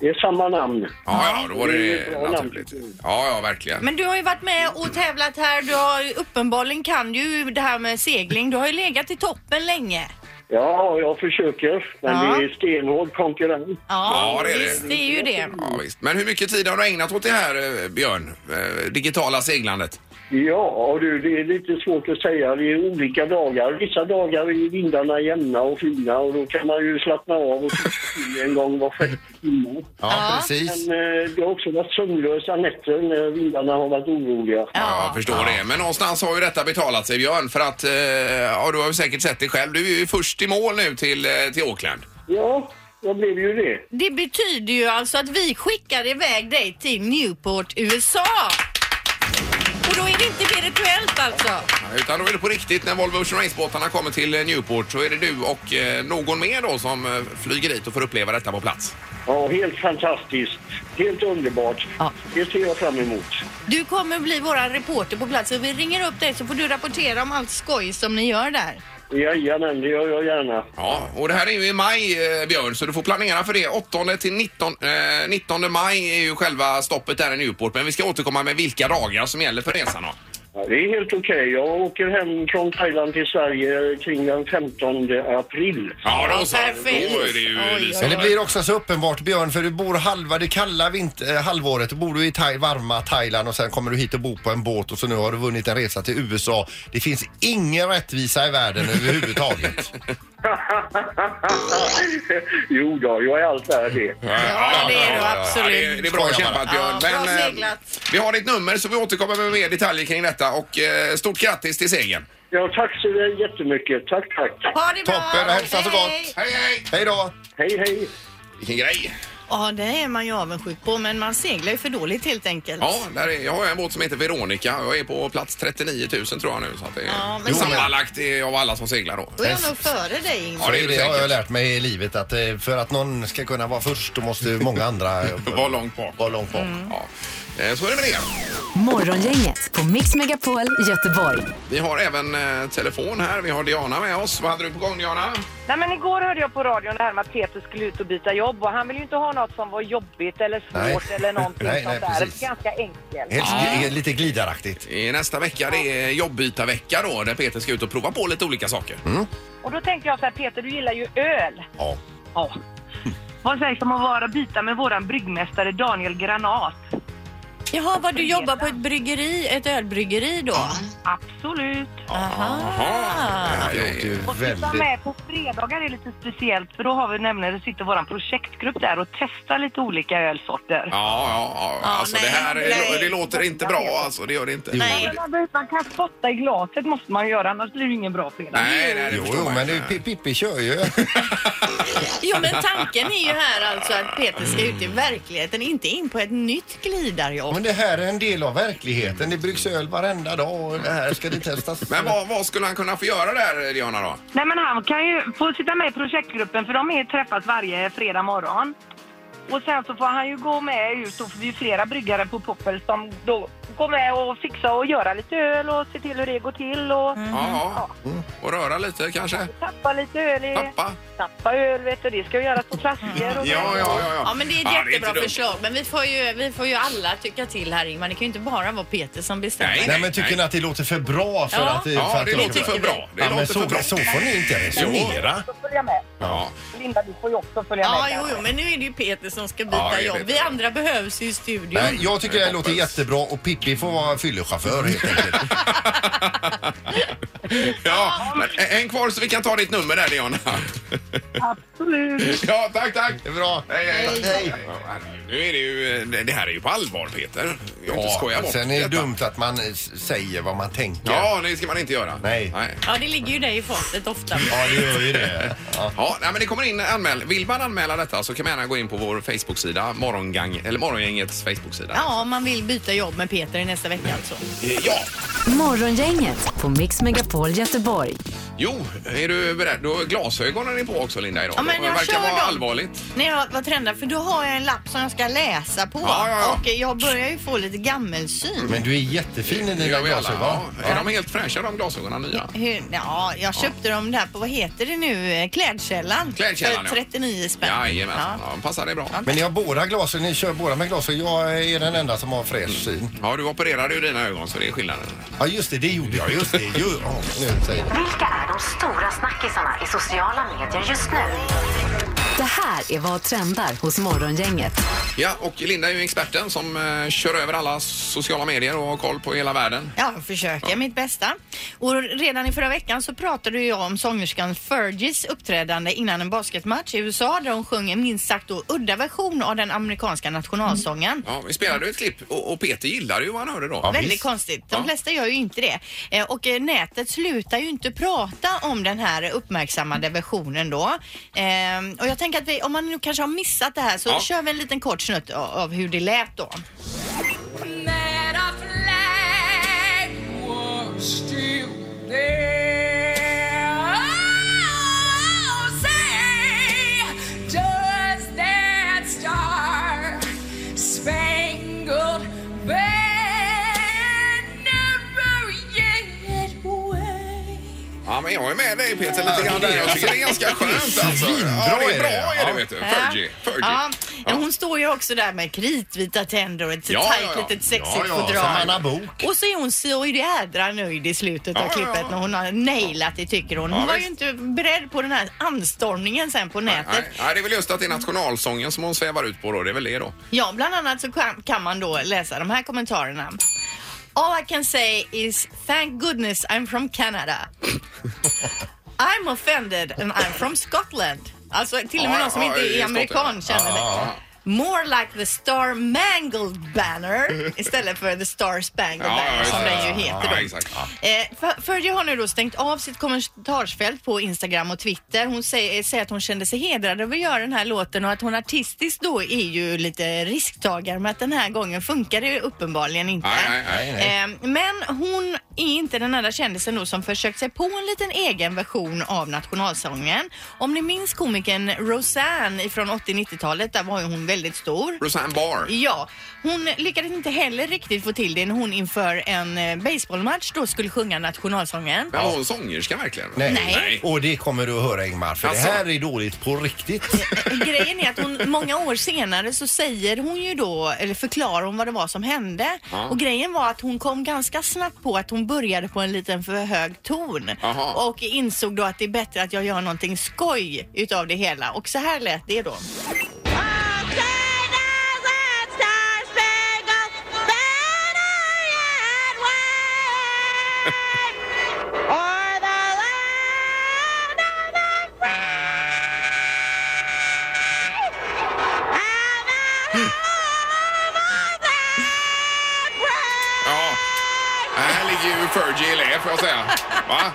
S9: det är samma namn.
S1: Ja, ja, då var
S9: Det är
S1: det
S9: ett bra namn.
S1: naturligt. Ja, ja, verkligen.
S3: Men du har ju varit med och tävlat här. Du har ju- uppenbarligen kan ju det här med segling. Du har ju legat i toppen länge.
S9: Ja, jag försöker. Men
S3: Ja.
S9: det är stenhård konkurrens.
S3: Ja,
S1: Ja, det är det.
S3: visst, det är ju det.
S1: Ja, visst. Men hur mycket tid har du ägnat åt det här, eh, Björn? Eh, digitala seglandet?
S9: Ja, du, det är lite svårt att säga. Det är olika dagar. Vissa dagar är vindarna jämna och fina och då kan man ju slappna av och titta till en gång var sjätte timme.
S2: Ja, precis.
S9: Men eh, det har också varit sömnlösa nätter när vindarna har varit oroliga.
S1: Ja, jag förstår det. Men någonstans har ju detta betalat sig, Björn. För att, eh, ja, du har ju säkert sett det själv. Du är ju först i mål nu till, eh, till Auckland.
S9: Ja, jag blev ju det.
S3: Det betyder ju alltså att vi skickar iväg dig till Newport, USA. Och då är det inte virtuellt alltså.
S1: Ja, Utan då är det på riktigt när Volvo Ocean Race-båtarna kommer till eh, Newport så är det du och eh, någon mer då som eh, flyger dit och får uppleva detta på plats.
S9: Ja, helt fantastiskt. Helt underbart.
S3: Ja.
S9: Det ser jag fram emot.
S3: Du kommer bli våran reporter på plats och vi ringer upp dig så får du rapportera om allt skoj som ni gör där.
S9: Jajamän, det gör jag gärna.
S1: Ja, och det här är ju i maj eh, Björn så du får planera för det. 8 till 19, eh, 19 maj är ju själva stoppet där i Newport men vi ska återkomma med vilka dagar som gäller för resan då.
S9: Ja, det är helt okej. Jag åker hem från Thailand till Sverige kring den 15 april.
S1: Ja, då så.
S3: perfekt.
S1: Då är det ju liksom-
S3: Oj,
S1: lysande.
S2: Men det blir också så uppenbart Björn, för du bor halva det kalla vinter, eh, halvåret, då bor du i thai, varma Thailand och sen kommer du hit och bor på en båt och så nu har du vunnit en resa till USA. Det finns ingen rättvisa i världen överhuvudtaget.
S9: jo då, jag är allt där det.
S3: Ja, det är du
S1: ja, ja.
S3: absolut.
S1: Ja, det, är- det är bra
S2: Skojar
S1: kämpat Björn.
S3: Ja, bra
S1: Men, eh,
S3: seglat.
S1: vi har ditt nummer så vi återkommer med mer detaljer kring detta och eh, stort grattis till segern.
S9: Ja, tack så jättemycket. Tack, tack.
S3: Ha det bra!
S2: Toppen, hälsa så gott.
S1: Hej, hej!
S2: Hej då!
S9: Hej, hej.
S1: Vilken grej!
S3: Ja, det är man ju avundsjuk på, men man seglar ju för dåligt helt enkelt.
S1: Ja, där är, jag har en båt som heter Veronica. Jag är på plats 39 000 tror jag nu. Så att det är
S3: Ja, men sen-
S1: sammanlagt eh, av alla som seglar då.
S3: Då är jag nog före dig, Ingmar.
S1: Ja, det är
S2: det
S1: det
S2: har jag
S1: säkert.
S2: lärt mig i livet att eh, för att någon ska kunna vara först då måste många andra eh,
S1: Var långt bak.
S2: vara långt bak.
S1: Ja. Eh, Så är det med det.
S4: Morgongänget på Mix Megapol Göteborg.
S1: Vi har även eh, telefon här. Vi har Diana med oss. Vad hade du på gång Diana?
S10: Nej, men igår hörde jag på radion det här med att Peter skulle ut och byta jobb och han vill ju inte ha något som var jobbigt eller svårt
S2: Nej.
S10: eller någonting
S2: Nej,
S10: sånt
S2: nej,
S10: där.
S2: precis.
S10: Ganska enkelt.
S2: Helt, Lite glidaraktigt.
S1: Eh, Nästa vecka det är jobbytarvecka då där Peter ska ut och prova på lite olika saker.
S10: Och då tänkte jag så här, Peter du gillar ju öl.
S2: Ja.
S10: Ja. Vad sägs om att vara byta med våran bryggmästare Daniel Granat?
S3: Jaha, vad du jobbar på ett bryggeri, ett ölbryggeri då?
S10: Absolut.
S1: Jaha.
S2: Det låter ju
S10: Och sitta
S2: väldigt...
S10: med Eh, på fredagar är lite speciellt för då har vi nämligen, det sitter våran projektgrupp där och testar lite olika ölsorter.
S1: Ja, ja, ja. Alltså
S3: nej,
S1: det här
S3: nej.
S1: det låter inte bra alltså. Det gör det inte.
S3: Nej.
S10: Men Man, man kan spotta i glaset måste man göra annars blir det ingen bra fredag.
S1: Nej, nej, det
S2: Jo,
S1: förstår
S2: jo,
S1: man
S2: men det,
S1: ju.
S2: är- Pi- Pippi kör ju.
S3: Jo, men tanken är ju här alltså att Peter ska ut i
S10: Mm.
S3: verkligheten, inte in på ett nytt
S2: Ja,
S3: glidarjobb.
S2: Men det här är en del av verkligheten. Det bryggs öl varenda dag och det här ska det testas.
S1: Men vad, vad skulle han kunna få göra där Diana
S2: Mhm.
S1: då?
S10: Nej men han kan ju få sitta med i projektgruppen för de är träffas varje fredag morgon. Och sen så får han ju gå med ut och för vi är flera bryggare på Poppel som då går med och fixa och göra lite öl och se till hur det går till och
S1: Ja, ja. Och röra lite kanske?
S10: tappa lite öl i...
S1: Tappa?
S10: Tappa öl vet du, det ska ju göras på flaskor och...
S1: Ja, ja, ja.
S3: Ja, men det är ett
S1: Ja, inte
S3: jättebra
S1: dumt.
S3: förslag. Men vi får, ju, vi får ju alla tycka till här, Ingmar. Det kan ju inte bara vara Peter som bestämmer.
S1: Nej.
S2: Nej, men tycker ni att det låter för bra för
S3: Ja.
S2: att... för
S1: Ja,
S2: att
S1: det låter
S3: tycker
S1: för
S3: vi.
S1: bra. Det
S2: Ja, men
S1: låter
S2: så,
S1: för bra.
S2: så får ni inte resonera.
S10: Så följa med.
S1: Ja.
S10: Linda, du får ju också följa
S3: Ja,
S10: med.
S3: jo,
S10: där.
S3: jo, men nu är det ju Peter som ska
S1: Ja,
S3: byta
S1: det är
S3: jobb.
S1: Peter.
S3: Vi andra behövs ju i studion.
S2: Nej, jag tycker det här låter jättebra och Pippi får vara fyllechaufför helt enkelt.
S1: ja, men en kvar så vi kan ta ditt nummer där Diana.
S10: Absolut.
S1: Ja, tack, tack.
S2: Det är bra.
S1: Hej, hej. Ja, Nu är det ju, det här är ju på allvar Peter. Jag inte skoja bort
S2: sen är det
S1: detta.
S2: dumt att man eh, säger vad man tänker.
S1: Ja, det ska man inte göra.
S2: Nej.
S3: Ja, det ligger ju dig i fatet ofta.
S2: Ja, det gör ju det. Ja.
S1: Ja, nej, men det kommer in anmäl. Vill man anmäla detta så kan man gärna gå in på vår Facebook-sida, Morgongang, eller Morgongängets Facebook-sida. Eh,
S3: Ja, om man vill byta jobb med Peter i nästa vecka alltså.
S1: ja.
S4: Morgongänget på Mix Megapol Göteborg.
S1: Jo, är du beredd? Du har glasögonen är på också Linda idag.
S3: Ja, men
S1: det
S3: jag
S1: verkar
S3: kör
S1: vara
S3: dem.
S1: allvarligt.
S3: När jag var tränad, för då har jag en lapp som jag ska läsa på.
S1: Ja, ja, ja.
S3: Och jag börjar ju få lite gammelsyn.
S2: Men du är jättefin i
S1: Det
S2: dina
S1: gör vi alla.
S2: glasögon.
S1: Ja.
S2: Ja.
S1: Är de helt fräscha de glasögonen nya?
S3: Hur, ja, jag köpte dem där på, vad heter det nu, Eh, Klädkällan.
S1: Klädkällan, ja.
S3: För 39 spänn.
S1: Jajamensan, ja. passar det bra.
S2: Men ni har båda glasögon, ni kör båda med glasögon. Jag är den enda som har fräsch syn.
S1: Ja, du opererade ju dina ögon så det är skillnaden.
S2: Ja, just det, det gjorde jag. Just det. Ju, ja, nu säger jag.
S4: Vilka är de stora snackisarna i sociala medier just nu? Det här är vad trendar hos Morgongänget.
S1: Ja, och Linda är ju experten som eh, kör över alla sociala medier och har koll på hela världen.
S3: Ja, jag försöker mitt bästa. Och redan i förra veckan så pratade ju jag om sångerskan Fergies uppträdande innan en basketmatch i USA där hon sjöng en minst sagt då udda version av den amerikanska nationalsången.
S1: Ja, vi spelade ju ett klipp och, och Peter gillade ju vad han hörde då.
S3: Väldigt konstigt. De
S1: Ja.
S3: flesta gör ju inte det. Eh, Och eh, nätet slutar ju inte prata om den här uppmärksammade versionen då. Ehm, Och jag tänker att vi, om man nu kanske har missat det här så
S1: Ja.
S3: kör vi en liten kort snutt a- av hur det lät då.
S1: Ja, men jag är med dig Peter lite grann där. Jag tycker det är ganska skönt alltså.
S2: Svinbra
S1: ja, det är
S2: är
S1: bra
S2: det, ja.
S1: är det vet du. Fergie. Fergie.
S3: Ja. Men hon står ju också där med kritvita tänder och ett
S1: Ja, ja,
S3: tajt
S1: ja.
S3: litet sexigt
S1: Ja, ja,
S3: fodral.
S1: som Anna
S2: Bok.
S3: Och så är hon så jädra nöjd i slutet av
S1: Ja, ja,
S3: klippet
S1: ja.
S3: när hon har nailat det tycker hon.
S1: Ja,
S3: Hon var ju
S1: visst.
S3: inte beredd på den här anstormningen sen på nätet.
S1: Nej, nej, det är väl just att det är nationalsången som hon svävar ut på då. Det är väl det då.
S3: Ja, bland annat så kan, kan man då läsa de här kommentarerna. All I can say is thank goodness I'm from Canada. I'm offended and I'm from Scotland. Alltså till och med
S1: Ja,
S3: någon som
S1: ja,
S3: inte
S1: i
S3: är amerikan
S1: Skottland.
S3: känner det. More like the Star Mangled Banner istället för the Star Spangled Banner som den ju heter då.
S1: Ja, exakt. Ja.
S3: Eh, F- Fergie har nu då stängt av sitt kommentarsfält på Instagram och Twitter. Hon säger, eh, säger att hon kände sig hedrad över att göra den här låten och att hon artistiskt då är ju lite risktagare men att den här gången funkar det ju uppenbarligen inte.
S1: Nej, nej, nej, nej.
S3: Eh, Men hon är inte den enda kändisen då som försökt sig på en liten egen version av nationalsången. Om ni minns komikern Roseanne från 80-90-talet, där var ju hon väldigt stor.
S1: Roseanne Barr.
S3: Ja, hon lyckades inte heller riktigt få till det när hon inför en eh, baseballmatch då skulle sjunga nationalsången.
S1: Men var hon sångerska verkligen?
S2: Nej.
S3: Nej.
S2: Och det kommer du att höra Ingmar, för
S1: Alltså.
S2: det här är dåligt på riktigt.
S3: Grejen är att hon många år senare så säger hon ju då, eller förklarar hon vad det var som hände.
S1: Ja.
S3: Och grejen var att hon kom ganska snabbt på att hon började på en liten för hög ton.
S1: Aha.
S3: Och insåg då att det är bättre att jag gör någonting skoj utav det hela. Och så här lät det då.
S1: Ja. Här ligger ju Fergie i lä får jag säga. Va?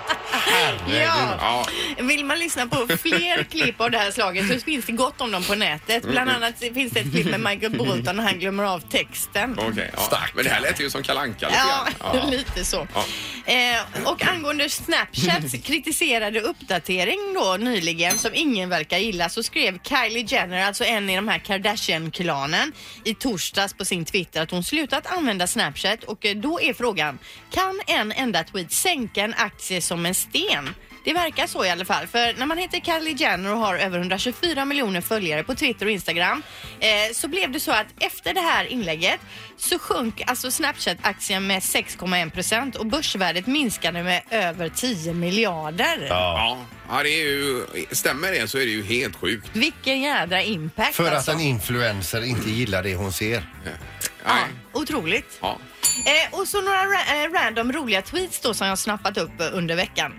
S3: Ja.
S1: Ja.
S3: Vill man lyssna på fler klipp av det här slaget så finns det gott om dem på nätet.
S1: Mm,
S3: Bland annat finns det ett klipp med Michael Bolton och han glömmer av texten.
S1: Okej. ja. Men det här lät ju som Kalle Anka lite
S3: Ja,
S1: grann. Ja.
S3: lite så.
S1: Ja.
S3: Eh, och angående Snapchats kritiserade uppdatering då nyligen som ingen verkar gilla så skrev Kylie Jenner, alltså en i de här Kardashian-klanen, i torsdags på sin Twitter att hon slutat använda Snapchat och eh, då är frågan, kan en enda tweet sänka en aktie som en sten? Det verkar så i alla fall. För när man heter Kylie Jenner och har över 124 miljoner följare på Twitter och Instagram eh, så blev det så att efter det här inlägget så sjönk alltså Snapchat-aktien med 6,1 procent och börsvärdet minskade med över 10 miljarder.
S1: Ja. ja, det är ju... Stämmer det så är det ju helt sjukt.
S3: Vilken jädra impact
S2: För att
S3: alltså.
S2: en influencer inte gillar det hon ser.
S1: Nej.
S3: Otroligt.
S1: Ja.
S3: Eh, och så några ra- eh, random roliga tweets då som jag har snappat upp eh, under veckan.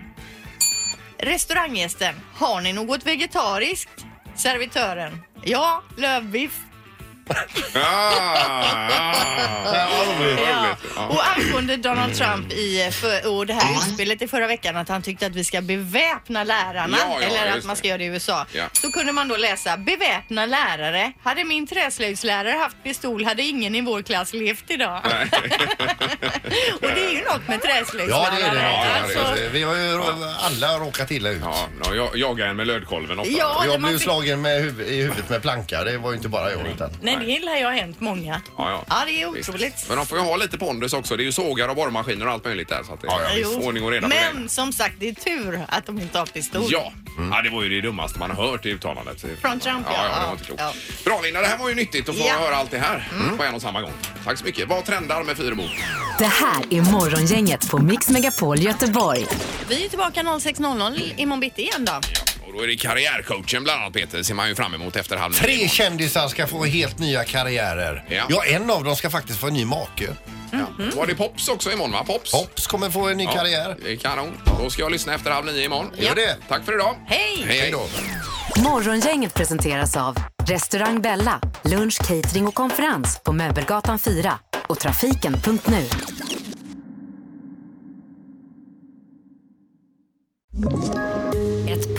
S3: Restauranggästen, har ni något vegetariskt? Servitören, ja, lövbiff.
S1: Ja. Mm.
S3: Och angående Donald Trump i, eh, för, och det här utspelet i förra veckan att han tyckte att vi ska beväpna lärarna
S1: Ja, ja,
S3: eller att
S1: just
S3: man
S1: det.
S3: ska göra det i USA.
S1: Ja.
S3: Så kunde man då läsa beväpna lärare. Hade min träslöjdslärare haft pistol hade ingen i vår klass levt idag. och det är ju något med
S2: Ja,
S3: träslöjdslärare.
S2: det är det.
S1: Ja,
S2: Ja,
S1: ja, det är
S3: alltså,
S1: det.
S2: Vi har ju rå- alla råkat illa ut.
S1: Ja, ja, jag jagar en med lödkolven ofta.
S3: Ja. det
S2: Jag
S3: man
S2: blev ju
S3: fick-
S2: slagen med huv- i huvudet med planka. Det var ju inte bara jag. Utan.
S3: nej, det lär ju ha hänt många.
S1: Ja, ja.
S3: Ja, det är
S1: Visst.
S3: otroligt.
S1: Men de får ju ha lite pondus också. Det är ju sågar och borrmaskiner och allt möjligt där. Så att det är
S2: Ja, ja,
S1: visst.
S3: Jo.
S1: ordning och reda på
S3: Men
S1: grejerna.
S3: som sagt, det är tur att de inte har pistol.
S1: Ja.
S2: Mm.
S1: ja, det var ju det dummaste man har hört i uttalandet.
S3: Från Trump,
S1: ja. ja,
S3: ja.
S1: det var inte klokt.
S3: Ja.
S1: Bra Linda, det här var ju nyttigt att få
S3: Ja. Mm.
S1: höra allt det här på en och samma gång. Tack så mycket. Vad trendar med Fyrebo?
S4: Det här är Morgongänget på Mix Megapol Göteborg.
S3: Vi är tillbaka 06.00 imorgon bitti igen då.
S1: Och då är det karriärcoachen bland annat Peter, ser man ju fram emot efter halv nio
S2: Tre
S1: imorgon.
S2: kändisar ska få helt nya karriärer.
S1: Ja.
S2: Ja. en av dem ska faktiskt få en ny make.
S3: Mm.
S1: Ja. Var det Pops också imorgon va? Pops?
S2: Pops kommer få en ny karriär.
S1: det är kanon. Då ska jag lyssna efter halv nio imorgon.
S2: Gör det.
S1: Tack för idag.
S3: Hej!
S2: Hej då.
S4: Morgongänget presenteras av Restaurang Bella, lunch, catering och konferens på Möbelgatan 4 och trafiken.nu.
S11: Ett